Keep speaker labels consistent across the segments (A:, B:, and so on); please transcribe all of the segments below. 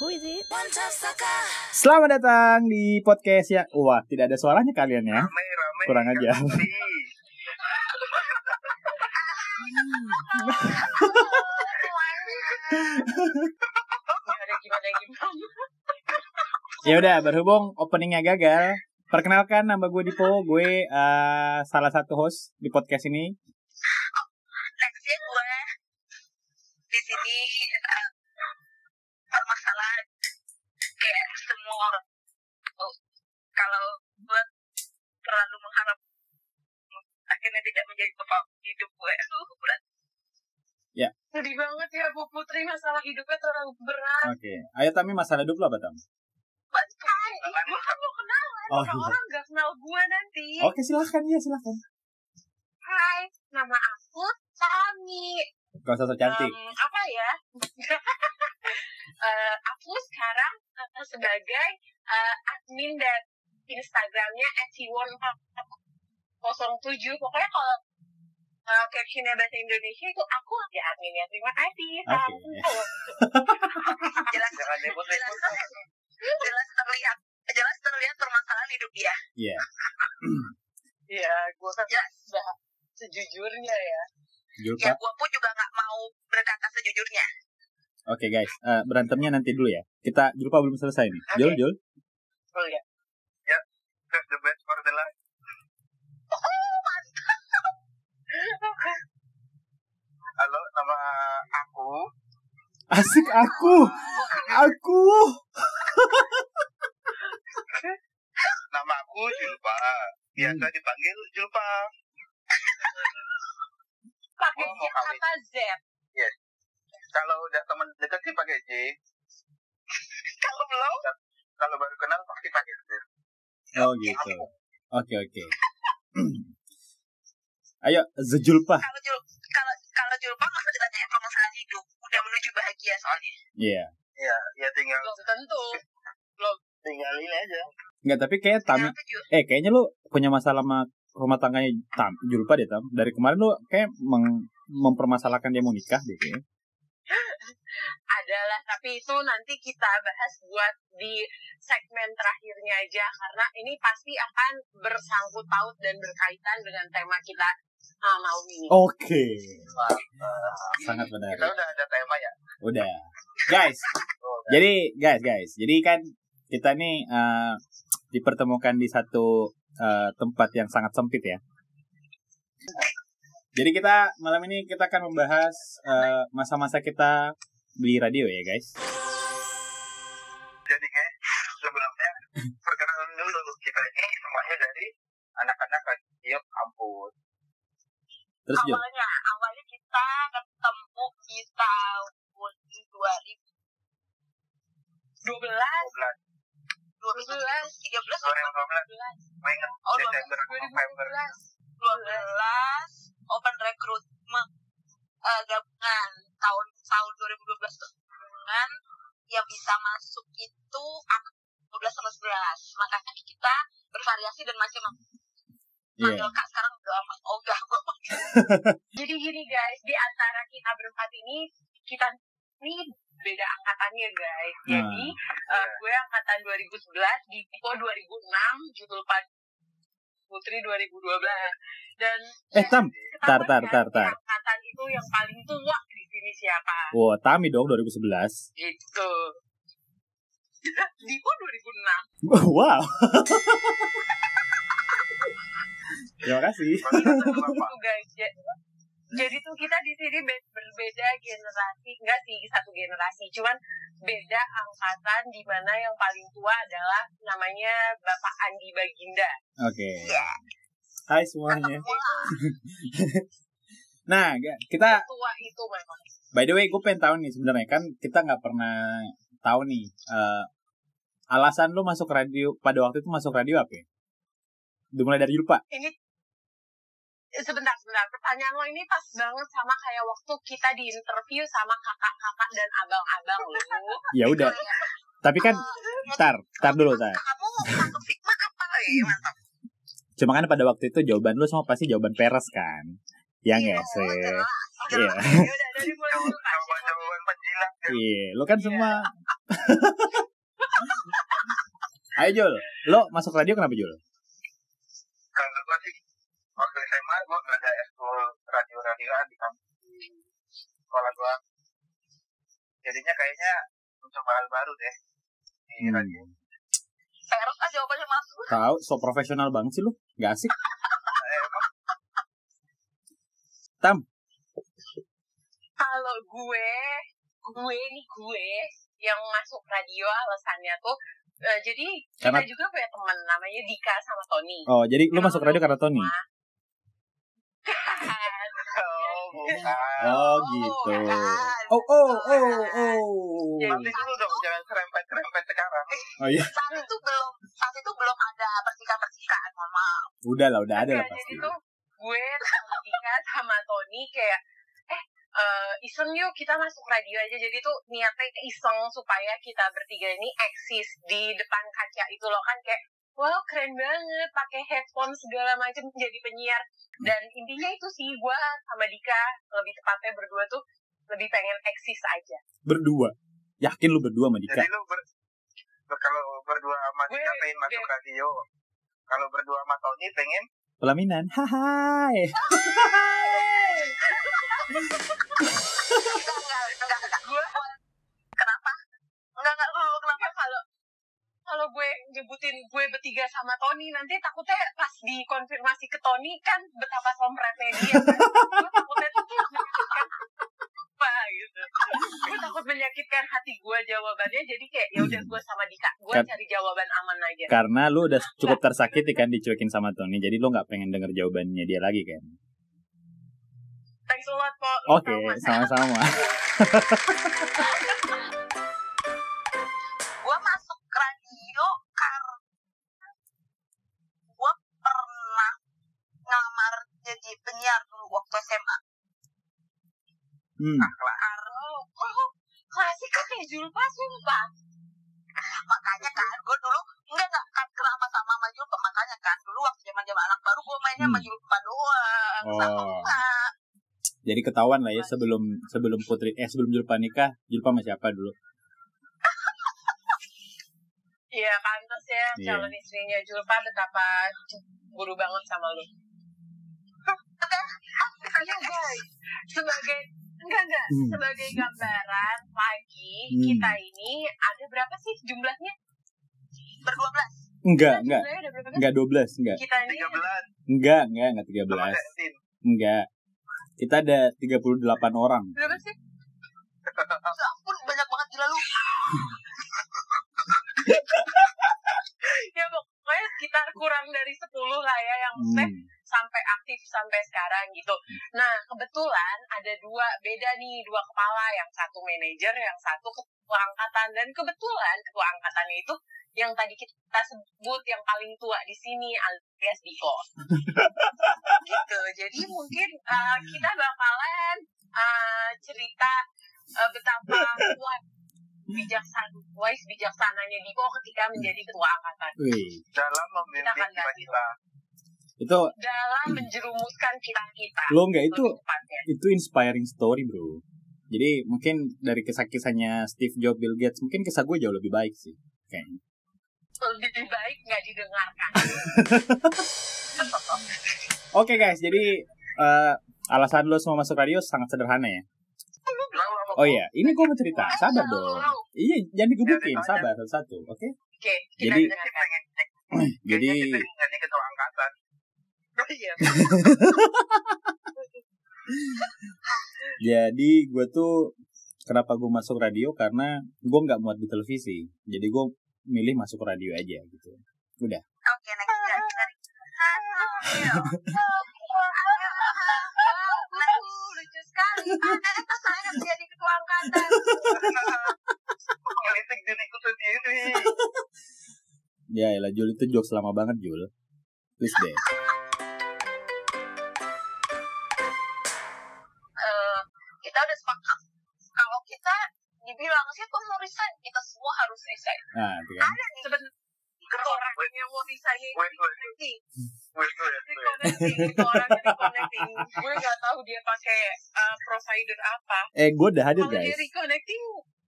A: Who is it?
B: Selamat datang di podcast ya. Wah, tidak ada suaranya kalian ya.
C: Ramai, ramai.
B: Kurang aja.
C: Ganti.
D: gimana gimana gimana
B: Ya udah, berhubung openingnya gagal, perkenalkan nama gue Dipo. Gue eh, salah satu host di podcast ini.
D: nextnya gue di sini eh, permasalahan kayak semua orang Oh, kalau gue terlalu mengharap akhirnya tidak menjadi bapak hidup gue Aduh, berat
B: Ya.
D: sedih banget ya Bu Putri masalah hidupnya terlalu berat
B: Oke. Ayo Tami masalah hidup lo apa Tam?
D: banget gue kan mau kenalan
B: Oh, iya.
D: orang-orang gak kenal gue nanti
B: Oke, silahkan ya, silahkan.
D: Hai nama aku Tami
B: Kau sosok cantik.
D: Em, apa ya? Eh, aku sekarang eh, sebagai eh, admin dan Instagramnya @siwon07. Pokoknya kalau eh, captionnya bahasa Indonesia itu aku ya adminnya. Terima kasih.
B: Oke. ya.
D: Salam. jelas,
C: Jangan ribut-ribut.
D: jelas terlihat jelas terlihat permasalahan hidup dia.
B: Iya.
D: Iya, gue kan udah sejujurnya ya.
B: Jumpa.
D: gue pun juga nggak mau berkata sejujurnya.
B: Oke guys, Eh, berantemnya nanti dulu ya. Kita Julpa belum selesai nih. Jul,
D: Oke.
B: Jul.
D: Oh iya.
C: Save Nah, the best for the last.
D: Iya,
C: Halo, nama aku.
D: Oh,
B: Asik aku. Aku.
C: Nama aku Julpa. Biasa dipanggil Julpa.
D: pakai
C: Oh,
D: Z
C: mau kawin.
D: apa Z?
C: Kalau udah teman dekat sih pakai J.
D: Kalau belum,
C: Kalau baru kenal pasti pakai J.
B: Oh gitu. Oke, oke. Ayo, Zejulpa.
D: kalau jul, kalau kalau julpa nggak usah ditanya permasalahan hidup, udah menuju bahagia soalnya.
B: Iya.
C: Iya, ya tinggal
D: Belum tentu.
C: tinggalin aja.
B: Enggak, tapi kayak Tami
D: Kenapa, Jul?
B: Eh, kayaknya lu punya masalah sama rumah tangganya Tam, Julpa deh Tam. Dari kemarin lu kayak meng- mempermasalahkan dia mau nikah deh kayaknya.
D: Adalah, tapi itu nanti kita bahas buat di segmen terakhirnya aja, karena ini pasti akan bersangkut paut dan berkaitan dengan tema kita uh, malam ini.
B: Oh, Oke.
C: Wah,
B: Sangat
C: Nah, Kita
B: menarik.
C: udah ada tema ya.
B: Udah. Guys, jadi guys, guys. Jadi kan kita nih eh, dipertemukan di satu eh, tempat yang sangat sempit ya. Jadi kita malam ini kita akan membahas eh, masa-masa kita di radio ya, guys.
C: Jadi kayak sebelumnya perkenalan dulu kita ini semuanya dari anak-anak radio kampus.
B: Terus Jul,
D: awalnya, awalnya kita ketemu di tahun 2000 12, 12, 13, 12.
C: 12 sore 12 Gue ingat
D: Oh,
C: Desember
D: 12,
C: November
D: 12 open recruitment eh, gabungan tahun tahun 2012 gabungan yang bisa masuk itu anak 12 sama 11 makanya kita bervariasi dan macam-macam
B: iya.
D: Manggil kak sekarang udah amat ogah jadi gini guys di antara kita berempat ini kita ini beda angkatannya guys
B: Nah.
D: jadi eh, gue angkatan 2011 di Dipo 2006 judul Pak Putri 2012 dan
B: Eh, Tam. Tar, tar, tar, tar.
D: angkatan itu yang paling tua di sini siapa
B: Wah, Tami dong 2011.
D: gitu Dipo 2006
B: Wow. Terima kasih.
D: Iya, tuh guys Ya- jadi tuh kita di sini be- berbeda generasi enggak sih satu generasi cuman beda angkatan di mana yang paling tua adalah namanya Bapak Andi Baginda
B: Oke.
C: Iya.
B: Hai semuanya. Nah, ga- kita
D: tua itu memang
B: by the way gue pengen tahu nih sebenarnya kan kita nggak pernah tahu nih eh, alasan lu masuk radio pada waktu itu masuk radio apa? ya? Dimulai dari lupa.
D: ini Eh, sebentar sebentar pertanyaan lo ini pas banget sama kayak waktu kita di interview sama kakak-kakak dan abang-abang lo "Eh,
B: Ya udah. Tapi kan tar, tar dulu tar.
D: kamu tangkap stigma apa ya mantap
B: Cuma kan pada waktu itu jawaban lu semua pasti jawaban peres kan. Yang ngesek. Iya.
D: Ya udah dari mulai dulu, Pak.
C: Jawaban-jawaban penjilat ya.
B: Iya, lu kan semua Ayo Jul, lo masuk radio kenapa Jul?
C: Kalau gue sih waktu SMA gue ada eskul radio-radioan di kampus di sekolah gue. Jadinya kayaknya mencoba hal baru deh di radio.
B: Hmm.
D: Peres aja kan jawabannya masuk.
B: Tahu, so profesional banget sih lo, nggak asik.
C: Eh, emang
D: Kalau gue, gue nih gue yang masuk radio alasannya tuh eh, jadi kita
B: Karena-
D: juga punya teman namanya Dika sama Tony.
B: Oh, jadi lo masuk radio karena Tony?
C: oh bukan.
B: Oh gitu.
D: bukan.
B: Oh oh oh oh.
C: Nanti dulu dong jangan serempet serempet sekarang.
B: Oh iya,
A: saat itu belum saat itu belum ada persikaan persikaan mohon maaf
B: udah lah, udah ada lah
D: Kayak
B: pasti.
D: Iya, Jadi tuh gue sama Dika sama Tony kayak eh eh, iseng yuk kita masuk radio aja jadi tuh niatnya iseng supaya kita bertiga ini eksis di depan kaca itu loh kan kayak wow keren banget pakai headphone segala macam jadi penyiar
B: Hmm.
D: dan intinya itu sih gue sama Dika lebih tepatnya berdua tuh lebih pengen eksis aja
B: Berdua. Yakin lu berdua sama Dika?
C: Jadi lu ber, ber- kalau berdua sama
D: Gue-
C: Dika pengen masuk radio. Kalau berdua sama Tony pengen
B: Pelaminan. Hai.
A: enggak enggak enggak enggak enggak enggak lu
D: gue
A: kenapa
D: Ya, kalau kalau gue nyebutin gue bertiga sama Tony nanti takutnya pas dikonfirmasi ke Tony kan betapa sompretnya dia kan. gue takutnya tuh menyakitkan apa gitu gue takut menyakitkan hati gue jawabannya jadi kayak ya udah gue sama Dika gue
B: Kan-
D: cari jawaban aman aja
B: Karena lu udah cukup tersakiti kan dicuekin sama Tony, jadi lu nggak pengen denger jawabannya dia lagi kan?
D: thanks a lot po Lu
B: Oke,
D: tau nggak?
B: sama-sama.
A: gue masuk ke radio karena gue pernah ngelamar jadi penyiar dulu waktu SMA
B: Hmm.
D: oh, oh, klasik kan ya Julpa sumpah
A: makanya kan gue dulu enggak enggak kan kenapa sama sama Julpa makanya kan dulu waktu zaman zaman anak baru gue mainnya sama
B: Hmm.
A: Julpa doang sama
B: Oh.
A: Uma.
B: Jadi ketahuan lah ya sebelum sebelum Putri eh sebelum Julpa nikah, Julpa sama siapa dulu?
D: iya pantas ya
B: Iya.
D: calon istrinya Julpa betapa buru banget sama lu Iya guys, sebagai enggak enggak
B: Hmm.
D: sebagai gambaran pagi
B: Hmm.
D: kita ini ada berapa sih jumlahnya?
A: berdua belas
B: Enggak, enggak.
D: Jumlahnya ada berapa kan?
B: Enggak 12, enggak.
D: Kita ini
C: 13
B: Enggak, enggak, enggak 13.
C: sama Destin.
B: Enggak. Kita ada 38 orang.
D: berapa sih?
A: ya ampun banyak banget gila lu
D: Ya pokoknya sekitar kurang dari 10 lah ya yang maksudnya
B: Hmm.
D: sampai aktif sampai sekarang gitu. Nah kebetulan ada dua beda nih dua kepala yang satu manajer yang satu ketua angkatan dan kebetulan ketua angkatannya itu yang tadi kita sebut yang paling tua di sini alias Diko. gitu. Jadi mungkin uh, kita bakalan uh, cerita uh, betapa kuat bijaksana wise bijaksananya Diko ketika menjadi ketua angkatan
B: Wih.
C: dalam memimpin
D: Kita akan
C: kita.
B: Itu
D: dalam menjerumuskan kita-kita.
B: lo enggak itu
D: lebih tepatnya.
B: itu inspiring story, Bro. Jadi mungkin dari kisah-kisahnya Steve Jobs, Bill Gates, mungkin kisah gue jauh lebih baik sih. Kayaknya.
D: lebih baik nggak didengarkan.
B: Oke guys, jadi eh, alasan lo semua masuk radio sangat sederhana ya. Oh iya, ini gue mau cerita. Sabar dong. Iya, jangan digebukin. Sabar satu-satu, oke?
D: Oke, kita
B: Jadi-
D: dengarkan.
C: Kayaknya
B: Jadi
C: kita yang jadi ketua angkatan.
D: Iya.
B: Jadi gue tuh kenapa gue masuk radio karena gue nggak muat di televisi. Jadi gue milih masuk radio aja gitu.
A: oke next jadi dari
D: Aduh, lucu sekali. Anak saya menjadi ketua angkatan.
C: Politik diriku sendiri.
B: Ya elah Jul itu jokes lama banget Jul. Terus deh.
A: eh, kita udah sepakat kalau kita dibilang sih tuh mau resign kita semua harus resign
B: Nah, itu kan.
D: Orang yang mau bisanya
C: Wait wait
D: connecting,
C: wait wait. wait.
D: connecting, itu gitu, orang yang connecting. Gue nggak tahu dia pakai eh, provider apa.
B: Eh gue udah hadir
D: Kalau dia
B: guys.
D: reconnecting,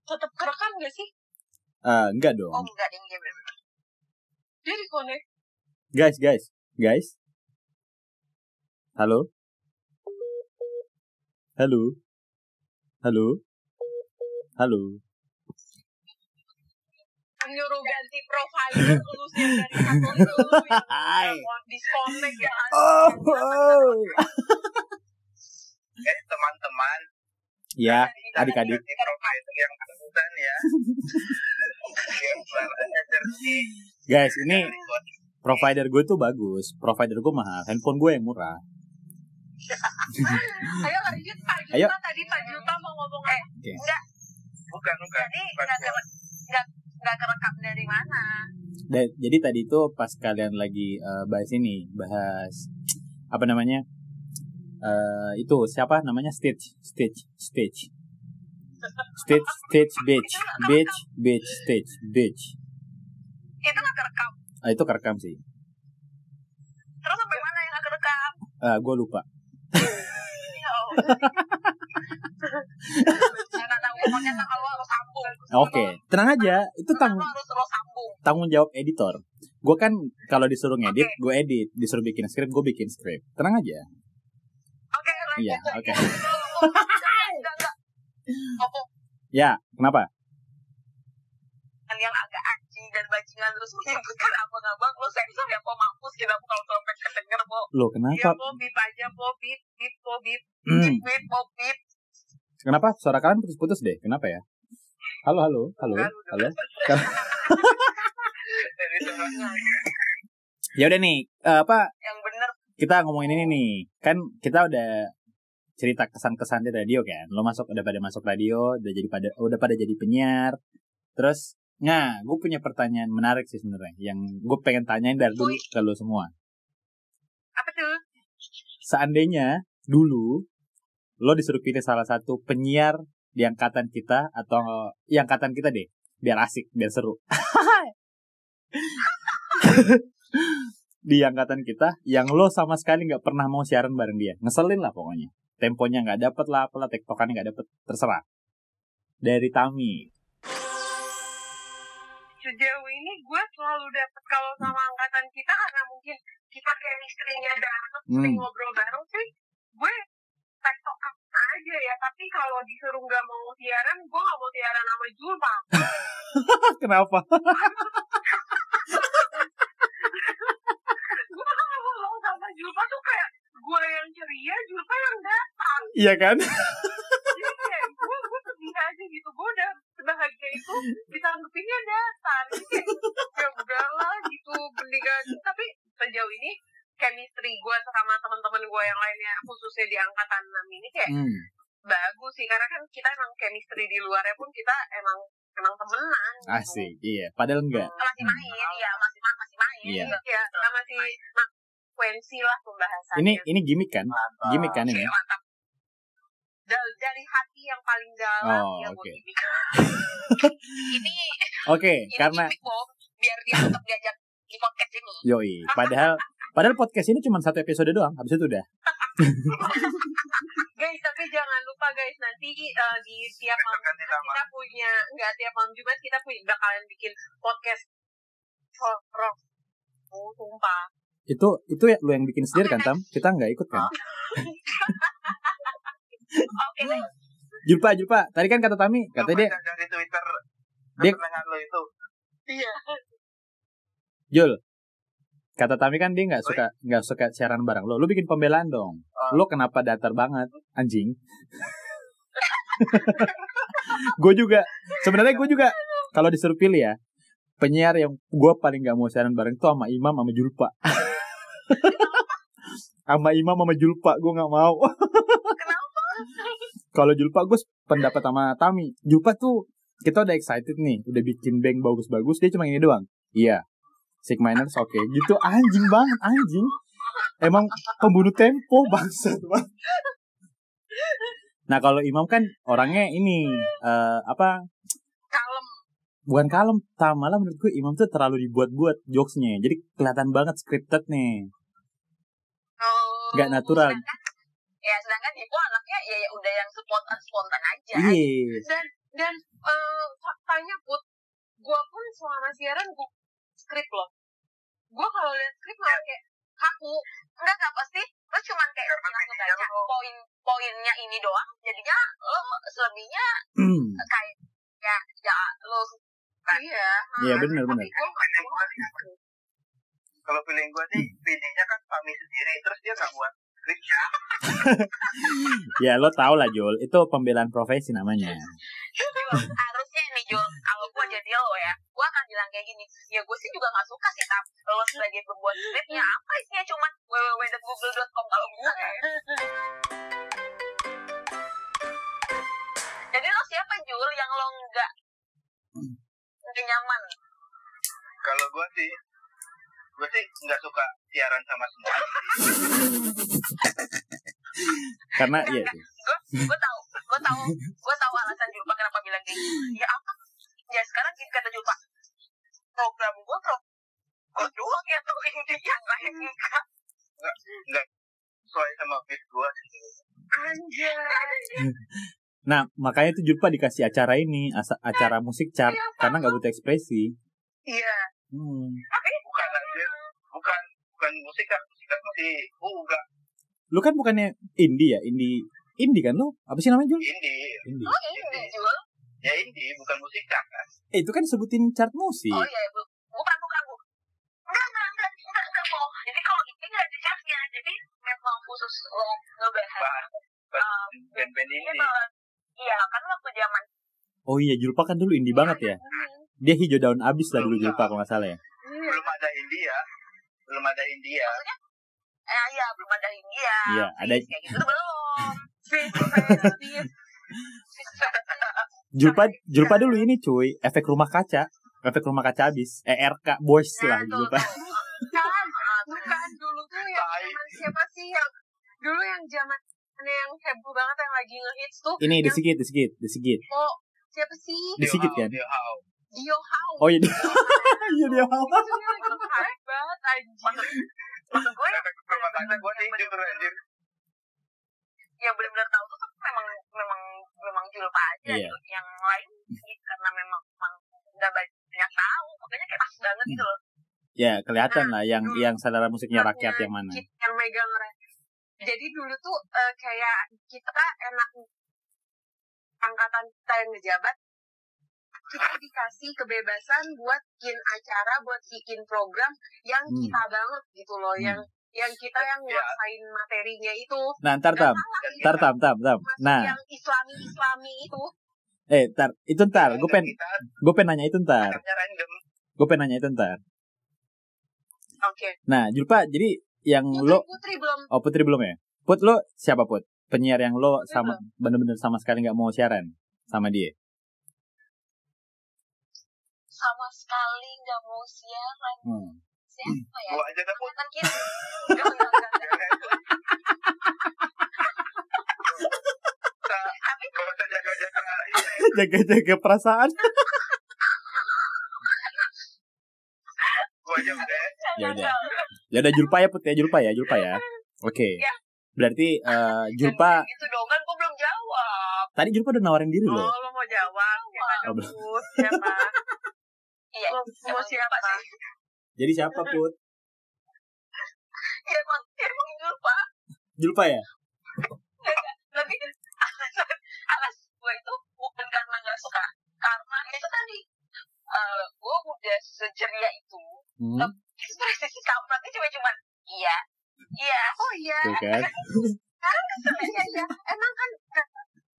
D: tetap kerekam nggak sih?
B: Eh, enggak dong.
D: Oh enggak deh dia belum. Dia di konek.
B: Guys, guys, guys. Halo? Halo? Halo? Halo?
D: nyuruh ganti profil lu sih dari satu itu lu yang mau disconnect ya.
B: Oh,
C: Eh teman-teman,
B: Ya,
C: kita
B: adik-adik.
C: ganti profil yang bersangkutan ya. yang barangnya jernih.
B: Guys, ini provider gue tuh bagus. Provider gue mahal. Handphone gue yang murah.
D: Ah, Ayo lanjut Pak Juta
B: Ayo.
D: tadi Pak Juta mau ngomong apa?
C: Bukan, bukan.
D: Jadi
C: Bukan
D: nggak
C: gua.
D: kere- nggak nggak kerekam dari mana?
B: Dan, jadi tadi itu pas kalian lagi eh, bahas ini, bahas apa namanya? Eh, itu siapa namanya? Stitch, Stitch, Stitch. Stitch, Stitch, bitch, bitch, bitch, Stitch, bitch.
D: Itu nggak kerekam.
B: Ah, itu kerekam sih.
D: Terus sampai mana yang nggak kerekam?
B: Eh, gue lupa.
D: Ya Allah. Karena tahu pokoknya tangan lu harus sambung.
B: Ah, Oke, tenang aja. Itu
D: Tangan
B: tang
D: lu harus lo sambung.
B: tanggung jawab editor. Gue kan kalau disuruh ngedit, gue edit. Disuruh bikin skrip, gue bikin skrip. Tenang aja.
D: Oke, lanjut.
B: Iya, oke.
D: Enggak, enggak. Omongan
B: Ya, kenapa?
D: yang agak anjing dan bajingan terus menyebutkan abang-abang lo sensor ya po mampus kita kalau sampai kedenger po
B: Lo
D: ya
B: kenapa?
D: po bip aja po bip bip po bip
B: Hmm,
D: bip bip po bip
B: kenapa suara kalian putus-putus deh? Kenapa ya? Halo, halo, halo, halo.
C: Jadi teman-
B: Ya udah nih, eh, apa
D: yang bener
B: kita ngomongin ini nih? Kan kita udah cerita kesan-kesan di radio kan. Lo masuk udah pada masuk radio, udah jadi pada udah pada jadi penyiar. Terus, nah, gue punya pertanyaan menarik sih sebenarnya yang gue pengen tanyain dari dulu ke lo semua.
D: apa tuh
B: seandainya dulu lo disuruh pilih salah satu penyiar di angkatan kita atau di angkatan kita deh biar asik biar seru di angkatan kita yang lo sama sekali nggak pernah mau siaran bareng dia ngeselin lah pokoknya temponya nggak dapet lah apalah tektokannya nggak dapet terserah dari Tami
D: sejauh ini gue selalu dapet kalau sama angkatan kita karena mungkin kita chemistry-nya dapet sering
B: Hmm.
D: ngobrol bareng sih gue tektok aja ya tapi kalau disuruh nggak mau siaran gue nggak mau siaran sama Julma
B: kenapa
D: gue nggak mau ngomong sama Julma tuh kayak gue yang ceria Julma yang datang
B: iya kan
D: jadi kayak gue gue sedih aja gitu gue udah sebahagia itu ditanggepinnya dasar Jadi kayak, ya udahlah gitu mendingan tapi sejauh ini chemistry gue sama teman-teman gue yang lainnya khususnya di angkatan 6 ini kayak
B: Hmm.
D: bagus sih karena kan kita emang chemistry di luarnya pun kita emang emang temenan gitu.
B: asik iya padahal enggak Hmm.
D: masih main ya masih main masih main
B: Iya.
D: ya kita masih nah, frekuensi lah pembahasannya
B: ini ini gimmick kan
D: Eh,
B: gimmick kan ini
D: Oke, mantap. Dari, dari hati yang paling dalam
B: Oh,
D: yang
B: oke.
D: gue gimmick. ini
B: oke
D: ini
B: karena
D: gimmick Bob, biar dia tetap diajak di podcast ini.
B: Yoi, padahal padahal podcast ini cuma satu episode doang, habis itu udah.
D: Guys, tapi jangan lupa guys nanti eh, di tiap malam
C: Tekan kan di
D: Jumat
C: lama.
D: kita punya enggak tiap malam Jumat kita punya bakalan bikin podcast horor. Oh, sumpah.
B: Itu itu ya lu yang bikin sendiri kan, Tam? Kita nggak ikut kan?
D: Oke, guys.
B: Julpa, Julpa, tadi kan kata Tami, kata
C: Lu
B: dia,
C: baca dari Twitter
B: Dia-
C: kesenangan lo itu.
D: iya.
B: Jul, kata Tami kan dia nggak suka nggak suka siaran bareng lo. Lu bikin pembelaan dong. Lu kenapa datar banget, anjing? gue juga, sebenarnya gue juga kalau disuruh pilih ya, penyiar yang gue paling nggak mau siaran bareng itu sama Imam sama Julpa. sama Imam sama Julpa gue nggak mau.
D: Kenapa?
B: kalau Julpa gue pendapat sama Tami Julpa tuh kita udah excited nih udah bikin bank bagus-bagus dia cuma ini doang iya Sig Miners oke gitu anjing banget anjing emang pembunuh tempo bangsat banget nah kalau Imam kan orangnya ini eh, apa
D: Kalem.
B: bukan kalem tak malah menurut gue Imam tuh terlalu dibuat-buat jokesnya jadi kelihatan banget scripted nih
D: Oh,
B: Nggak natural.
D: sedangkan- Ya, sedangkan Ibu anaknya ya, ya udah yang spontan-spontan aja.
B: iya
D: dan dan eh, faktanya put gue pun selama siaran gue skrip loh gue kalau lihat skrip malah kayak kaku
A: Enggak, enggak pasti. Lo cuman kayak
C: Karena
A: yang
C: media
A: ngebaca
C: lo-
A: poin-poinnya ini doang. Jadinya lo selebihnya kayak ya ya lo
D: iya
B: Iya, bener, bener.
D: Tapi gua-
C: Feeling gua sih, kalau feeling gue sih feelingnya kan Fahmi sendiri terus dia nggak buat skripnya
B: ya lo tau lah Jul itu pembelaan profesi namanya
A: Jul, harusnya ini Jul kalau gue jadi lo ya gue akan bilang kayak gini ya gue sih juga nggak suka sih tapi lo sebagai pembuat skripnya apa isinya cuman www.google.com kalau ya." gue jadi lo siapa Jul yang lo nggak nggak nyaman
C: kalau gue sih gue sih nggak suka siaran sama semua
B: karena ya
A: gue gue tahu gue tahu gue tahu alasan Julpa kenapa bilang kayak gini ya apa ya sekarang gini kata Julpa program gue program gue doang ya tuh intinya lain enggak
C: sesuai sama fit gue
D: anjay
B: nah makanya itu Julpa dikasih acara ini asa- acara musik chart
A: Iya,
B: karena nggak butuh ekspresi
D: iya
B: Hmm.
C: bukan anjir bukan bukan musik kan musik kan masih enggak
B: lu kan bukannya indie ya indie indie kan lu apa sih namanya Jul
C: indie
B: indie
A: oh ini Jul
C: ya indie bukan musik kan kan
B: eh, itu kan sebutin chart musik
A: oh iya bu bukan bukan bu enggak enggak enggak enggak enggak mau jadi kalau ini enggak ada chartnya jadi memang khusus lo ngebahas
C: bahas
A: um,
C: band-band
A: ini
C: indie
A: bahwa iya kan waktu zaman
B: oh iya Julpa kan dulu indie banget ya dia hijau daun abis lah dulu Julpa kalau nggak salah ya
A: Hmm.
D: Iya.
C: belum ada India belum ada India
A: eh iya belum ada India
B: Iya, ada-
A: kayak gitu tuh belum
D: Fit, fit.
B: Julpa Julpa dulu ini cuy efek rumah kaca efek rumah kaca abis eh RK boys lah
A: Nah, tuh, Kan, ah,
B: Julpa
A: tuh.
D: Bukan, bukan dulu tuh yang
C: Tai.
D: zaman siapa sih yang dulu yang zaman yang heboh banget yang lagi ngehits tuh
B: ini
D: yang
B: disikit disikit disikit
D: oh, siapa sih
B: disikit kan
C: Dio Hao.
D: Dio Hao
B: oh iya iya dia
D: itu tuh yang lagi hype banget anjir
A: maksud gue
C: Efek rumah kaca
D: Iya,
C: gue nih jujur anjir
A: yang benar-benar tahu tuh kan memang memang memang Julpa aja
B: Iya.
A: gitu. yang lain gitu, karena memang memang nggak banyak tahu makanya kayak pas banget gitu loh
B: ya kelihatan lah yang yang saudara musiknya rakyat yang mana
D: Kita yang megang re- jadi dulu tuh eh, kayak kita enak angkatan kita yang ngejabat kita dikasih kebebasan buat bikin acara buat bikin program yang
B: Hmm.
D: kita banget gitu loh
B: Hmm.
D: yang yang kita yang
C: Ya.
D: nguasain materinya itu
B: nah ntar tam ntar tam tam tam
D: Masuk ya.
B: nah
D: yang islami islami itu
B: eh ntar itu ntar gue pengen
C: kita
B: gue pengen nanya itu ntar
C: anaknya random
B: gue pengen nanya itu ntar
D: oke
B: nah Julpa jadi yang
D: putri
B: lo
D: putri belum
B: oh Putri belum ya Put lo siapa Put penyiar yang lo sama bener-bener sama sekali nggak mau siaran sama dia
A: sama sekali nggak mau siaran
B: Hmm.
A: siapa ya
C: gua aja dah pun
A: kan kita Nggak, nggak, nggak.
B: Ya
C: kalau saya jaga jaga
B: jaga-jaga perasaan
C: gua aja udah
B: ya udah ya udah Julpa ya Put ya Julpa ya Julpa ya oke
A: Ya.
B: berarti eh,
A: Jangan
B: Julpa
A: bilang gitu dong kan gue belum jawab
B: tadi Julpa udah nawarin diri
D: oh
B: Iya loh
D: lo mau jawab siapa
B: Oh, belum.
D: dulu siapa
A: iya
D: lo ya, mau
A: emang
D: siapa
A: sih?
B: jadi siapa Put
A: iya emang iya, emang Julpa
B: Julpa ya
A: tapi alasan alas gue itu bukan karena nggak suka karena itu tadi eh, gue udah sejeria itu
B: Hmm,
A: ekspresi si kampretnya cuma cuman iya iya
D: oh iya
B: tuh kan
D: iya iya emang kan eh,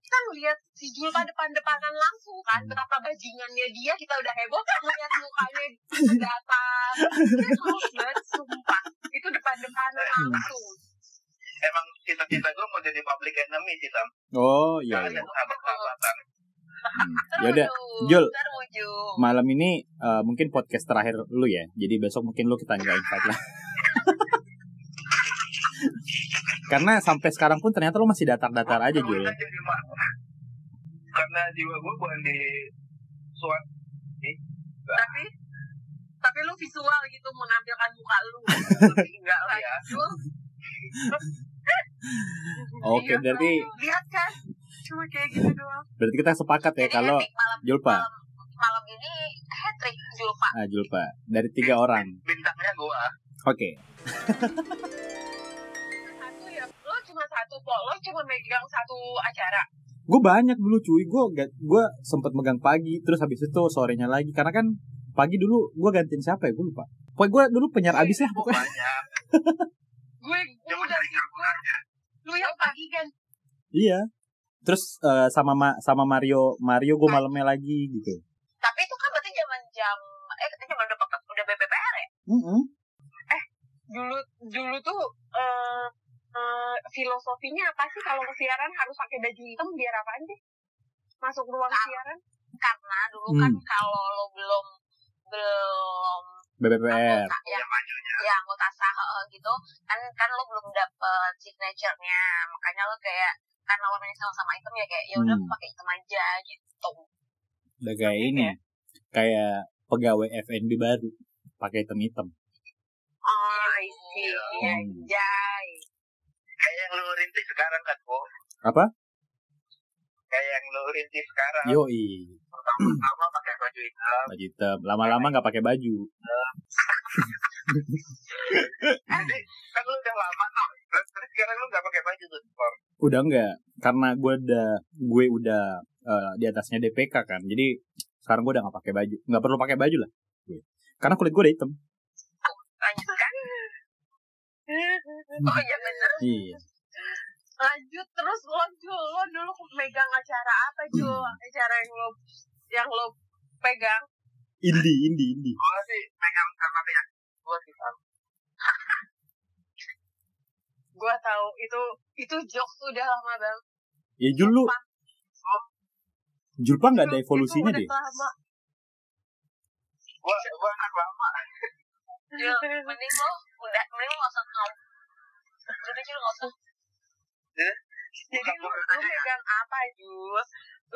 D: kita ngeliat si Julpa depan-depanan langsung kan betapa bajingannya dia kita udah heboh kan ngeliat mukanya datang itu halus banget sumpah itu depan-depanan langsung
C: emang cita-cita gua mau jadi public enemy sih tam
B: oh iya
C: gak ada
B: iya
C: sahabat sahabatan
B: Hmm. ya udah
A: Terwujud,
B: Jul.
A: terwujud.
B: malam ini eh, mungkin podcast terakhir lu ya jadi besok mungkin lu kita nggak invite lah karena sampai sekarang pun ternyata lu masih datar-datar aja
C: Gua
B: Jul
C: jadi mak karena jiwa gua bukan di suat
D: tapi tapi lu visual gitu menampilkan muka lu
C: tapi enggak lah ya
D: kayak Jul Iya,
B: oke berarti
D: lihat kan cuma kayak gitu doang
B: berarti kita sepakat ya
A: Jadi
B: kalau
A: epic malam
B: Julpa
A: malam
D: malam ini hat trick Julpa.
B: Ah, Julpa. Dari tiga orang.
C: Bintangnya gua.
B: Oke.
D: Satu ya, lo cuma satu kok, lo cuma megang satu acara.
B: Gue banyak dulu cuy. Gue gue sempet megang pagi, terus habis itu sorenya lagi. Karena kan pagi dulu gue gantiin siapa ya? Gue lupa. Pokoknya gue dulu penyiar abis lah pokoknya.
C: Banyak.
D: Gue gue
C: Cuma
D: dari gue, lu yang pagi kan.
B: Iya. Terus eh, sama Ma- sama Mario Mario gue malamnya lagi gitu.
D: Tapi itu kan berarti zaman jam eh kita zaman udah pe- udah BPPR ya. Eh, Dulu dulu tuh eh eh, filosofinya apa sih kalau siaran harus pakai baju hitam biar apaan sih? Masuk ruang siaran? Karena dulu
B: kan Hmm.
D: kalau lo belum belum
B: BBPR.
D: anggota yang ya anggota sah eh, gitu kan kan lo belum dapet signaturenya makanya lo kayak karena warnanya sama-sama hitam ya kayak ya udah
B: Hmm.
D: pakai hitam aja gitu
B: Udah kayak ini. Kayak pegawai FNB baru pakai hitam-hitam.
D: oh
C: Ah,
D: I see
B: Iya.
D: anjay
C: Kayak yang lu rintis sekarang kan, Bu.
B: Apa?
C: Kayak yang lu rintis sekarang.
B: Iya. Yoi.
C: Pertama-tama pakai baju hitam.
B: Baju hitam. Lama-lama nggak pakai baju.
C: Jadi kan lu udah lama tuh. Terus terus sekarang lu gak pakai baju tuh sport.
B: Udah enggak. Karena gue udah gue udah eh, di atasnya DPK kan. Jadi sekarang gue udah nggak pakai baju. Nggak perlu pakai baju lah. Karena kulit gue udah hitam.
D: lanjut kan oh iya bener
B: Iya.
D: lanjut terus lo Jul lo dulu megang acara apa Jul acara yang lo yang lo pegang
B: Indie, indie, indie.
C: Gua sih pegang sama pihak gua sih sama.
D: gue tahu itu itu jokes udah lama banget
B: Ya Jul lu Julpa nggak ada
D: Itu- itu
B: evolusinya
D: udah
B: deh.
D: lama.
C: Gua gua anak lama.
D: Jul, Ya, mending lo udah mending lo nggak usah ngomong jadi Jul nggak usah
C: Eh?
D: jadi lu, lu megang apa Jul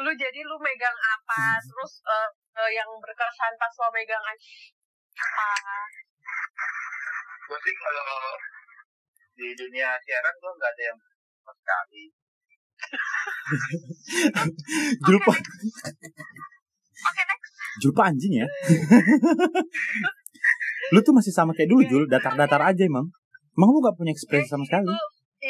D: lu jadi lu megang apa terus eh, eh, yang berkesan pas lo megang apa
C: Gua sih kalau di dunia siaran gua gak ada yang sama sekali.
B: Julpa,
D: oke next
B: Julpa anjing ya. lu tuh masih sama kayak dulu Jul, datar-datar aja emang. Emang lu gak punya ekspresi sama sekali?
D: itu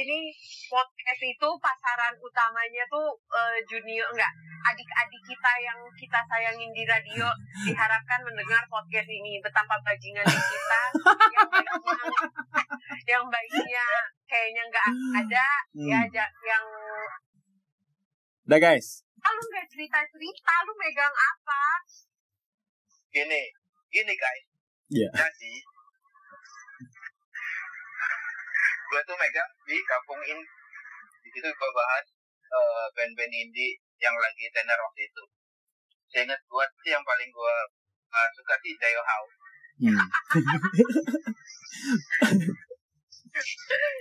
D: ini podcast itu pasaran utamanya tuh eh, junior enggak adik-adik kita yang kita sayangin di radio diharapkan mendengar podcast ini betapa bajingan kita yang baiknya yang baiknya kayaknya enggak ada ya
B: Hmm.
D: ja- yang
B: Dah guys,
D: ah, lu nggak cerita cerita lu megang apa
C: Gini, gini guys.
B: Iya.
C: Jadi gua tuh megang di kampung ini. Di situ gua bahas eh, band-band indie yang lagi tenar waktu itu. Seingat gua sih yang paling gua eh, suka sih Dayo House.
B: Hmm.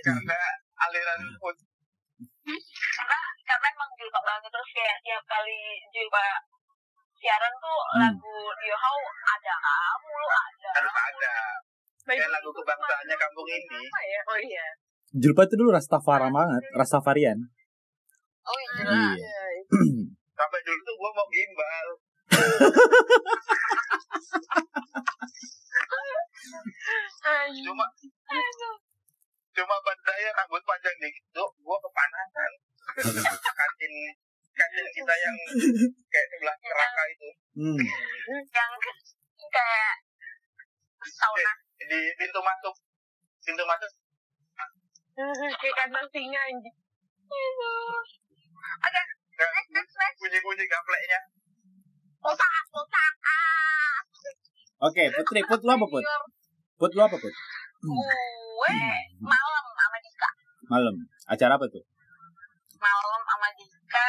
C: karena aliran pun
D: karena emang juga banget terus kayak tiap kali juga siaran tuh
B: Hmm.
D: lagu Yohau ada mulu ada
C: harus ada
D: Baju
C: kayak lagu
D: itu
C: kebangsaannya
D: kemana?
C: kampung ini
D: Apa ya? Oh iya.
B: Julpa tuh dulu Rastafara banget, Rastafarian.
D: Oh
B: jelas.
C: sampai dulu tuh gue mau gimbal cuma cuma pandai rambut panjang dikit tuh gue kepanasan kantin kantin kita yang kayak sebelah kerangka itu
B: Hmm.
D: Yang kayak sauna.
C: di pintu masuk pintu masuk
D: Kayak kandang singa anjing. Aduh. Oke,
C: nggak
D: next, next, next.
C: bunyi-bunyi gapleknya
D: Otak, otak. Ah.
B: Oke, Putri, Put lu apa Put?
D: Senior
B: Put lu apa Put?
D: Gue
B: Hmm.
D: malam sama Dika.
B: Malam. Acara apa tuh?
D: Malam sama Dika.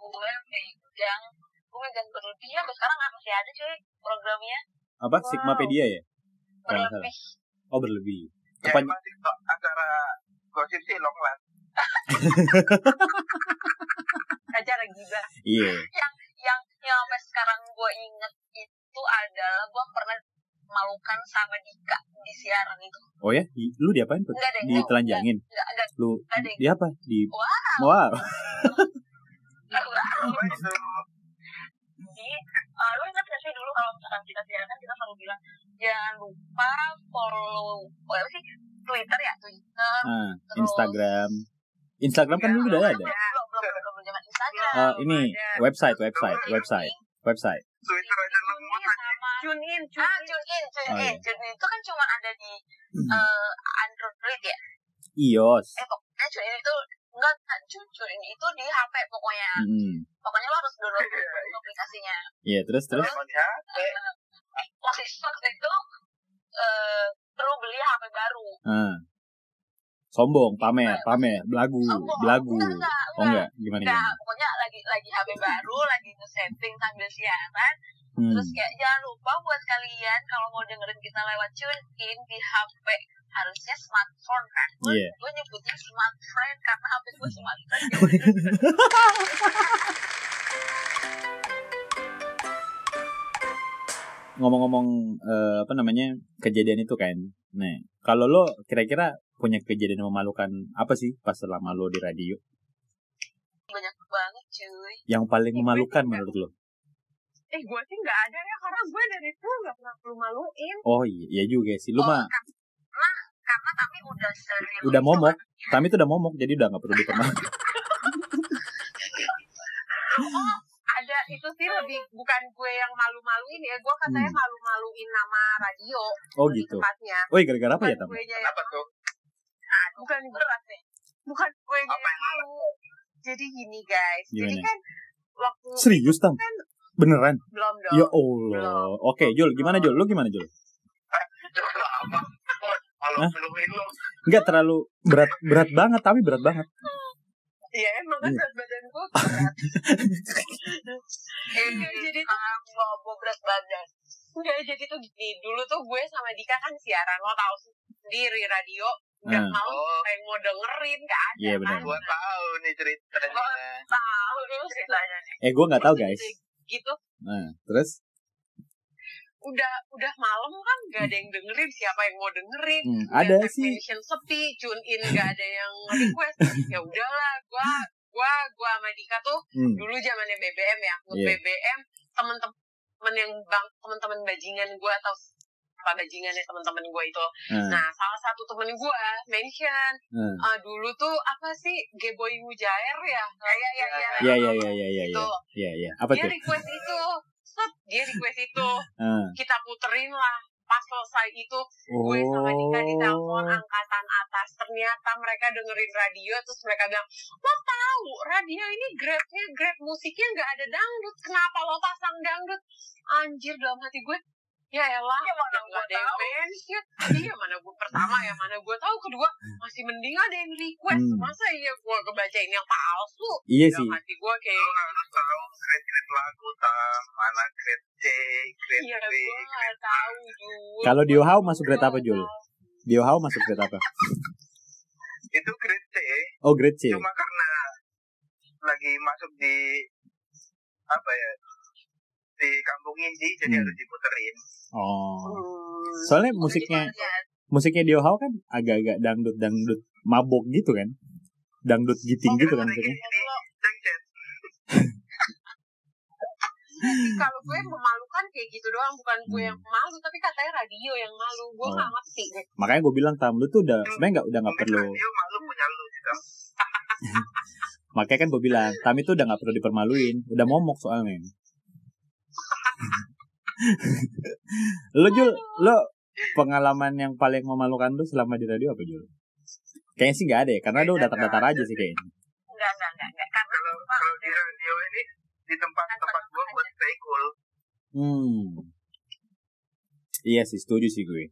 D: Gue megang. Gue megang berlebih. Sampai sekarang masih ada cuy programnya.
B: Apa?
D: Wow.
B: Sigmapedia ya? Kalau nggak salah.
D: Berlebih.
B: Oh, berlebih.
E: Iya,
C: ya
B: Apa-
C: masih acara gosip sih long last
D: Acara gila.
B: Iya.
D: yang yang sampai sekarang gue inget itu adalah gue pernah malukan sama Dika di siaran itu
B: Oh ya? I- Lu diapain Put?
D: Nggak, deh,
E: Iya,
D: nggak.
B: Ditelanjangin.
D: nggak ada
B: Lu
D: nggak ada yang
B: di apa? Di
D: Wow.
B: Wow.
D: Wah,
C: apa itu
D: di eh, lo inget gak sih
E: misalkan kita siaran kita selalu bilang jangan lupa follow oh, apa sih Twitter ya Twitter
B: Ah, Instagram. Instagram
E: Iya,
B: kan dulu udah ada.
E: belum belum belum belum jangan Instagram
B: Eh, ini
E: ada.
B: website, website, website, website.
C: Twitter aja lu
E: Ini sama
D: Tune in, tune
E: ah
D: in.
E: tune in tune
B: Oh,
E: in
B: iya. Hmm.
E: tune in itu kan cuma ada di eh, Android ya
B: iOS.
E: eh pokoknya tune in itu enggak enggak, tune tune in itu di HP pokoknya
B: Mm-mm.
E: pokoknya lo harus download dulu aplikasinya
B: Iya, terus terus.
C: Emang ya,
E: waktu itu waktu itu eh perlu beli HP baru
B: Ah. Sombong, pamer, pamer, belagu,
E: Iya. Sombong.
B: Hmm, belagu.
E: Enggak, enggak,
B: Oh enggak, gimana
E: Nah,
B: gimana?
E: pokoknya lagi lagi HP baru, lagi nge-setting sambil siaran.
B: Hmm.
E: Terus kayak jangan lupa buat kalian kalau mau dengerin kita lewat tune-in di HP harusnya smartphone kan. Gue
B: Iya.
E: gue nyebutnya smartphone karena HP gue smartphone.
B: Ngomong-ngomong eh, apa namanya? kejadian itu kan. Nah, kalau lo kira-kira punya kejadian memalukan apa sih pas selama lo di radio?
E: Banyak banget cuy.
B: Yang paling
D: Ya,
B: memalukan menurut lo?
D: Eh, gue sih nggak ada ya, karena gue dari dulu nggak pernah perlu maluin.
B: Oh iya, iya juga sih. Lo
E: Oh,
B: mah
E: karena karena kami udah serius.
B: udah momok. Tami tuh udah momok, jadi udah nggak perlu dipermalukan.
D: Ada itu sih lebih bukan gue yang malu-maluin ya, gue katanya
B: Hmm.
D: malu-maluin nama radio
B: Oh
D: di
B: gitu.
D: tempatnya.
B: Woi, gara-gara apa ya,
D: Bukan
B: Tam?
D: gue yang
C: kenapa tuh?
D: bukan
E: Berat nih.
D: bukan gue yang
C: Apa yang
D: malu. Jadi gini guys, jadi
B: Gimana?
D: kan waktu kan
B: Serius, Tam? Beneran?
D: belum dong.
B: Ya Allah. Oke, Jul, gimana Jul? Lo gimana Jul?
C: Apa? Kalau belum itu,
B: Enggak terlalu berat berat banget, tapi berat banget.
D: Iya emang kan
B: Iya.
D: berat badan gue berat.
E: Eh,
D: Iya,
E: jadi
D: jadi
E: tuh bobo berat badan.
D: Enggak, jadi tuh gini, dulu tuh gue sama Dika kan siaran, lo tau sendiri radio, nggak
B: Hmm.
D: mau
C: Oh.
D: yang mau dengerin, nggak ada
B: Iya, benar.
D: kan.
C: gua tahu nih ceritanya.
E: Tahu dulu ceritanya nih.
B: Eh, gua nggak tahu guys.
D: Gitu,
B: Nah, terus
D: udah udah malam kan nggak ada yang dengerin, siapa yang mau dengerin.
B: hmm,
D: Dan
B: ada sih.
D: technician sepi, tune in nggak ada yang request. ya udahlah, gue gua gua sama Dika tuh
B: Hmm.
D: dulu zamannya BBM ya, nge
B: Iya.
D: BBM temen-temen yang bang temen-temen bajingan gue atau apa bajingannya temen-temen gue itu
B: Nah,
D: Nah, salah satu temen gue mention,
B: Hmm.
D: "Ah, dulu tuh apa sih, Geboy Mujair ya? Iya, iya,
B: ya
D: iya.
B: ya ya ya ya ya.
D: Gitu.
B: Ya ya. Apa
D: Dia
B: tuh?
D: request itu. Set, dia request itu.
B: Ah.
D: Kita puterin lah. Pas selesai itu, gue sama Dika ditelepon
B: Oh.
D: angkatan atas. Ternyata mereka dengerin radio, terus mereka bilang, lo tahu radio ini grade-nya, grade musiknya nggak ada dangdut. Kenapa lo pasang dangdut? Anjir, dalam hati gue, ya elah,
E: Ya, mana
D: nggak
E: gua
D: ada yang
E: tahu.
D: mention. Iya, mana gue pertama ya, mana gue tahu. Kedua, masih mending ada yang request.
B: Hmm.
D: Masa iya gue kebacain yang palsu?
B: Iya sih.
D: Dalam hati gue kayak,
C: Lu harus tahu grade-grade lagu, Tam. Mana grade C, grade
D: iya
C: B.
D: gue nggak tahu, Jul.
B: Kalau di Ohau masuk
D: Gua
B: grade apa,
D: nggak
B: Jul?
D: tahu.
B: Di Ohio masuk grade apa?
C: Itu grade C,
B: Oh, grade C.
C: cuma karena lagi masuk di apa ya di kampung ini jadi
B: Hmm.
C: harus diputerin
B: Oh.
D: Hmm.
B: Soalnya musiknya
E: Jadi,
D: Iya,
B: musiknya di Ohio kan agak-agak dangdut-dangdut mabok gitu kan. Dangdut giting gitu kan
D: iya,
B: maksudnya.
C: Ceng, ceng.
D: kalau gue
B: Hmm.
D: memalukan kayak gitu doang bukan gue yang malu tapi katanya radio yang malu gue
B: Oh.
D: nggak ngerti
B: Makanya gue bilang tam lu tuh udah sebenarnya nggak udah nggak
C: mungkin
B: perlu.
C: radio malu punya lu gitu
B: Makanya kan gue bilang tam itu udah nggak perlu dipermaluin. Udah momok soalnya. lo Jul, lo pengalaman yang paling memalukan lu selama di radio apa Jul? Kayaknya sih nggak ada ya, karena lu
C: Kayaknya
B: datar-datar aja sih kayaknya.
E: enggak enggak enggak enggak karena
C: kalau kalau di radio ini di tempat-tempat gua buat stay cool
B: Hmm. Iya sih, setuju sih gue.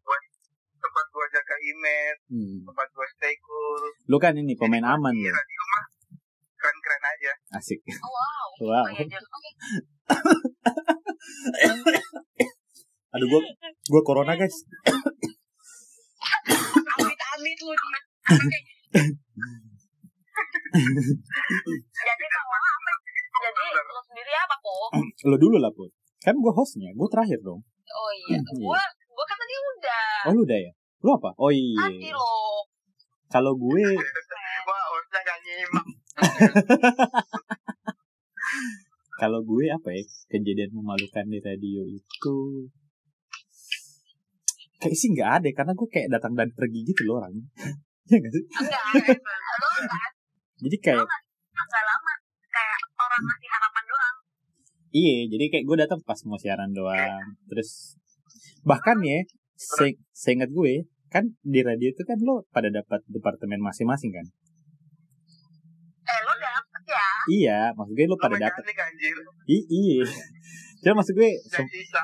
C: tempat gua jaga image
B: Hmm.
C: tempat gua stay cool
B: Lu kan ini pemain aman lu,
C: di radio mah keren-keren aja
B: asik.
E: wow.
B: Wow.
E: Oh, iya, Jul. Oke.
B: Aduh gue, gue corona guys.
D: iya, amit amit lu di
E: Jadi kalau apa? Jadi lo sendiri apa kok?
B: Lo dulu lah put. Kan gue hostnya, gue terakhir dong.
E: Oh iya,
B: Iya.
E: gua gua kan tadi udah.
D: Ah.
B: Oh lu udah ya? Lu apa? Oh
E: Tadi
B: iya.
E: lo.
B: Kalau gue
C: wah harusnya gak nyimak
B: Kalau gue apa ya kejadian memalukan di radio itu kayak sih nggak ada karena gue kayak datang dan pergi gitu loh orangnya. Iya nggak sih?
D: Enggak, emang. Lo enggak,
B: Jadi kayak
D: enggak lama. Kayak orang ngasih harapan doang.
B: iya, jadi kayak gue datang pas mau siaran doang. Terus bahkan ya, se seingat gue kan di radio itu kan lo pada dapat departemen masing-masing kan?
D: Eh, lo dapet ya.
B: Iya, maksud gue lo pada dapat.
C: mekanik anjir
B: I- Iya. Cuma maksud gue
C: dan
B: se-
C: sisa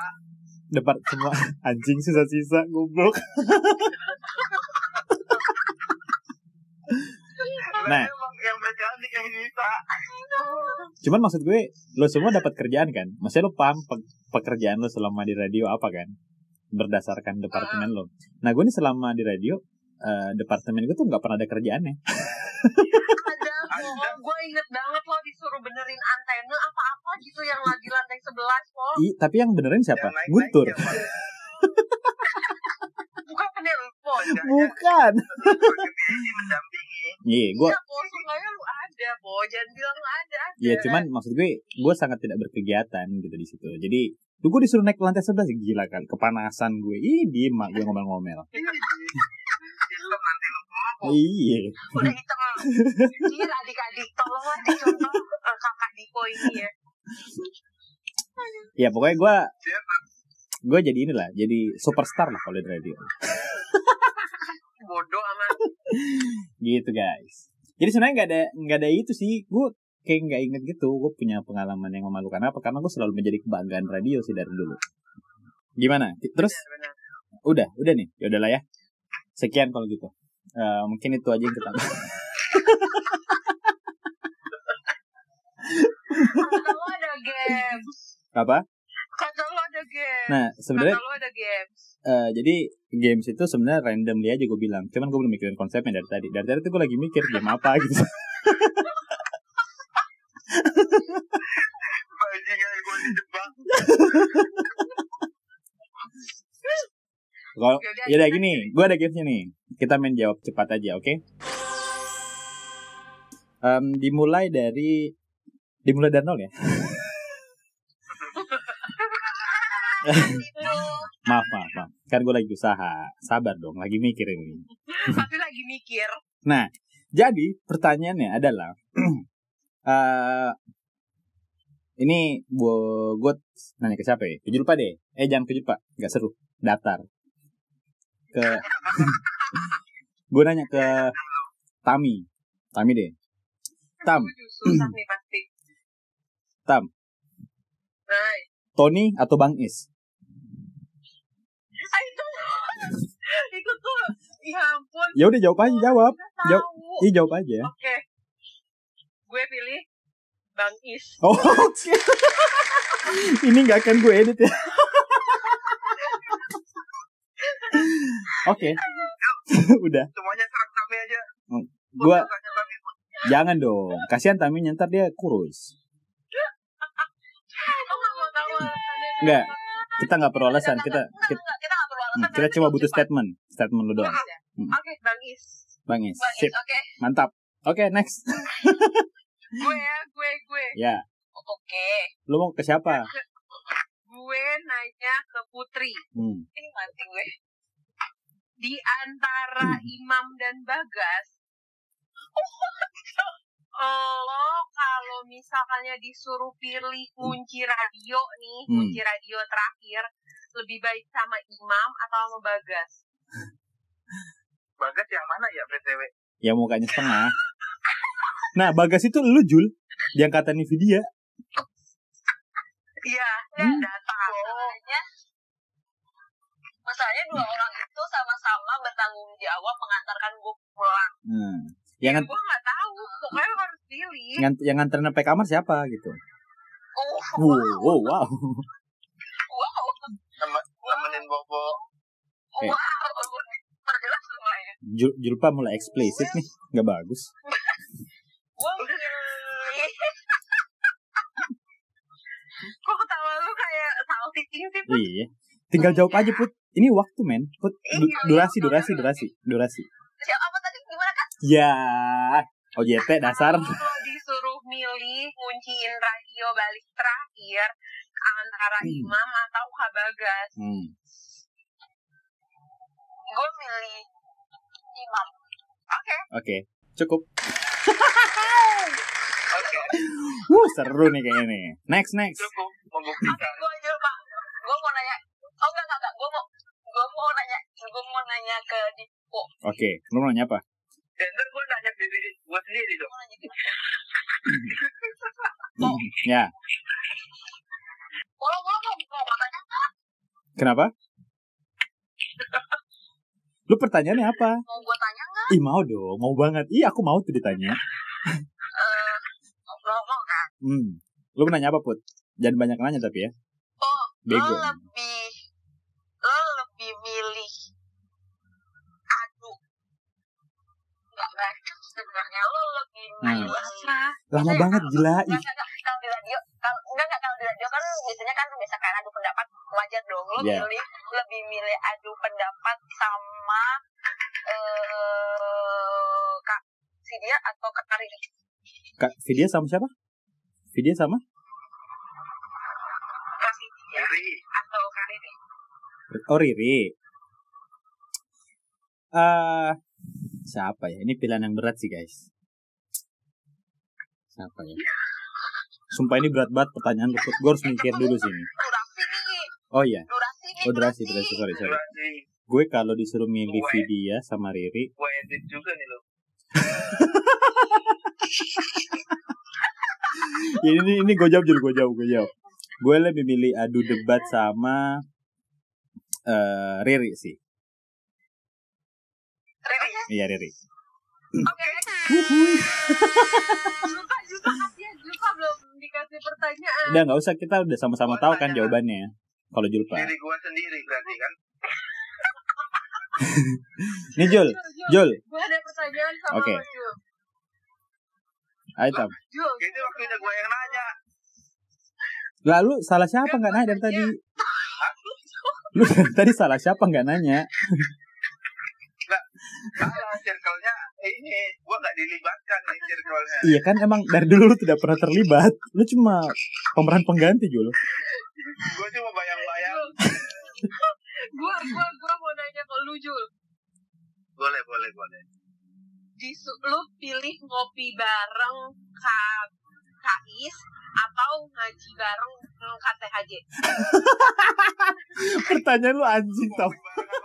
B: depart semua anjing sisa-sisa goblok. Nah.
C: Emang yang mekanik yang sisa
B: Cuman maksud gue lo semua dapat kerjaan kan? Maksudnya lo paham pe- pekerjaan lo selama di radio apa kan? Berdasarkan departemen lo. Nah gue nih selama di radio eh, departemen gue tuh nggak pernah ada kerjaannya.
D: Ada bohong. Gue inget banget lo disuruh benerin antena apa-apa gitu yang lagi lantai 11 lo.
B: I, tapi yang benerin siapa?
C: Yang naik-naik
B: Guntur.
C: siapa?
D: Bukan penelpon.
B: Bukan.
C: Ini mendampingi
B: Iya, gue
D: Ya, Bo, seenggaknya lu ada, Bo. Jangan bilang nggak ada. ada.
B: Iya cuman maksud gue gue sangat tidak berkegiatan gitu di situ. Jadi lu gue disuruh naik ke lantai 11 gila kan kepanasan gue. Ih, di mak gue ngomel-ngomel.
C: Sistem nanti lu
B: Iya.
D: Udah hitam. Iya, adik-adik. Tolonglah dicontoh eh, kakak Diko ini ya.
B: Ya pokoknya gue
C: siapa
B: gue jadi inilah, jadi superstar lah kalau di radio.
D: Bodoh amat.
B: Gitu guys. Jadi sebenarnya nggak ada nggak ada itu sih. Gue kayak nggak inget gitu. Gue punya pengalaman yang memalukan apa? Karena gue selalu menjadi kebanggaan radio sih dari dulu. Gimana? Terus udah udah nih. Ya udahlah ya. Sekian kalau gitu. Eh, mungkin itu aja yang kita
D: Kata lo ada games.
B: apa?
D: Kata lo ada games.
B: Nah sebenarnya
D: Kata lo ada games.
B: Eh, jadi games itu sebenarnya randomly aja gue bilang. Cuman gue belum mikirin konsepnya dari tadi. Dari tadi tuh gue lagi mikir game apa gitu.
C: bajingan gue dijebak
B: Kalau
D: Yaudah,
B: ya udah gini, gue ada gamesnya nih. Kita main jawab cepat aja, oke? Em, dimulai dari dimulai dari nol ya.
D: Itu.
B: Maaf maaf maaf. Kan gue lagi usaha. Sabar dong, lagi mikir ini.
D: Tapi lagi mikir.
B: Nah, jadi pertanyaannya adalah eh ini gua gue nanya ke siapa ya? Ke Julpa deh. Eh jangan ke Julpa, nggak seru. Datar. Ke gue nanya ke Tami. Tami deh. Tam,
D: Gue susah nih pasti.
B: Tam.
D: Nah,
B: Tony atau Bang Is?
D: itu. itu tuh. Ya ampun.
B: Ya udah jawab aja jawab. Jawab.
D: Kita
B: Iya.
D: tahu.
B: Ih jawab aja. ya.
D: Oke. Gue pilih Bang Is.
B: Oh, oke. Ini nggak akan gue edit ya. Oke. Udah.
C: semuanya serang kami aja
B: Gua
C: Serang kami.
B: jangan dong. Kasihan Tami nyentar dia kurus.
D: Lo nggak mau tahu alasannya
B: Enggak.
D: kenapa?
B: Kita nggak perlu alasan.
D: Nggak,
B: Kita
D: nggak,
B: kita, Hmm,
D: nggak, kita nggak perlu alasan.
B: kita
D: Karena
B: cuma
D: itu
B: butuh
D: cepat.
B: statement. Statement lu doang.
D: Ada.
B: Hmm.
D: Oke, Bang Is.
B: Bang Is.
D: Bang Is,
B: Sip.
D: oke.
B: Mantap. Oke, next.
D: Gue ya, gue, gue.
B: Ya,
D: Oke.
B: lu mau ke siapa?
D: Gue nanya ke Putri.
B: Hmm.
D: Ini mati gue. Di antara
B: Hmm.
D: Imam dan Bagas, lo kalau misalnya disuruh pilih kunci radio nih,
B: Hmm.
D: kunci radio terakhir, lebih baik sama Imam atau sama Bagas?
C: bagas yang mana ya btw
B: Ya mukanya setengah. Nah, Bagas itu lu Jul. Di angkatan Nvidia.
D: Iya,
B: Hmm.
D: datang.
A: Masalahnya, masalahnya dua
B: Hmm.
A: orang itu sama-sama bertanggung jawab mengantarkan gue pulang.
B: Hmm. Yang
D: Gue Ya, nggak tahu, pokoknya lo harus pilih.
B: yang yang nganterin sampai kamar siapa gitu.
A: Oh,
B: Wow, wow, wow.
A: wow,
C: nemenin bobo
B: Eh.
A: wow. Perjelas
D: ya.
A: semuanya.
B: Ju- Julpa mulai eksplisit nih, nggak bagus.
A: Gue pilih
D: Kok ketawa lu kayak salting sih? Put?
B: Iya. Tinggal jawab aja put. Ini waktu men. Put du-
D: Iya,
B: durasi,
D: iya,
B: durasi,
D: iya.
B: durasi, durasi.
D: Ya,
A: siapa tadi gimana kan?
B: Ya. OJT dasar.
D: Kalau lo disuruh milih kunciin radio balik terakhir antara
B: Hmm.
D: Imam atau Habagas?
B: Hmm.
D: Gue milih Imam. Oke.
B: Oke, cukup.
C: Oke,
B: Wuh, seru nih kayaknya nih. Next, next.
C: cukup
D: Oke,
C: membuktikan.
D: gue aja pak. Gue mau nanya. Oh enggak enggak, enggak. Gue mau gue mau nanya. Gue mau nanya ke Dipo.
B: Oke, lu nanya apa?
C: Dan ntar gue nanya diri gue sendiri
D: Gue
C: dong.
D: mau nanya ke
B: Ya,
D: Kalau gue mau mau bertanya
B: kenapa? Lu pertanyaannya apa?
D: mau gue tanya nggak?
B: Ih mau dong, mau banget. Ih aku mau tuh ditanya.
D: Eh, mau mau kan?
B: Hmm. Lu mau nanya apa Put? Jangan banyak nanya tapi ya.
D: Oh,
B: Bego.
D: lo lebih lo lebih milih adu nggak baca sebenarnya lo lebih
B: Hmm.
D: milih
B: Lama banget gila.
D: Nggak,
B: Ih.
D: nggak, nggak. Kalau di radio, kalau enggak enggak kalau di radio kan biasanya kan biasa kan adu pendapat wajar dong. Lo
B: Iya.
D: milih lebih milih adu pendapat sama eh Kak si dia atau Kak Karin.
B: Kak, video sama siapa? Video sama?
D: Kak si dia
C: Diri.
D: atau Karin.
B: Oh Riri. Eh siapa ya? Ini pilihan yang berat sih guys. Siapa ya? Sumpah ini berat banget pertanyaan Put. Gue harus mikir dulu sini.
D: Durasi nih,
B: Oh iya.
D: durasi nih.
B: Oh durasi, durasi, sorry, sorry.
C: Durasi.
B: Gue kalau disuruh milih
C: Gue.
B: Vidya sama Riri,
C: Gue edit juga nih lo.
B: ya, ini ini gue jawab dulu, gue jawab, gue jawab. Gue lebih milih adu debat sama eh Riri sih.
D: Riri.
B: Iya Riri.
D: ya? Oke. Lupa juga kasihan Julfa belum dikasih pertanyaan.
B: Udah nggak usah kita udah sama-sama tahu kan jawabannya. Kalau Julpa.
C: Diri gue sendiri berarti kan.
B: Nih Jul, Jul,
D: Gue ada pertanyaan sama
B: Oke.
D: lo, Jul.
B: ayo Tam.
D: Jul.
C: Jadi waktunya gue yang nanya.
B: Lalu salah siapa nggak nanya dari tadi? Lu dari tadi salah siapa nggak nanya?
C: Salah circle-nya eh, ini. Gue gak dilibatkan nih circle-nya.
B: Iya kan emang dari dulu lu tidak pernah terlibat. Lu cuma pemeran pengganti Jul.
C: Gue cuma bayang-bayang.
D: Gue gue gue mau nanya ke lu Jul.
C: Boleh, boleh, boleh.
D: Disu, lu pilih ngopi bareng Kak Kais atau ngaji bareng KTHJ?
B: Pertanyaan lu anjing Tam.
C: Gua bareng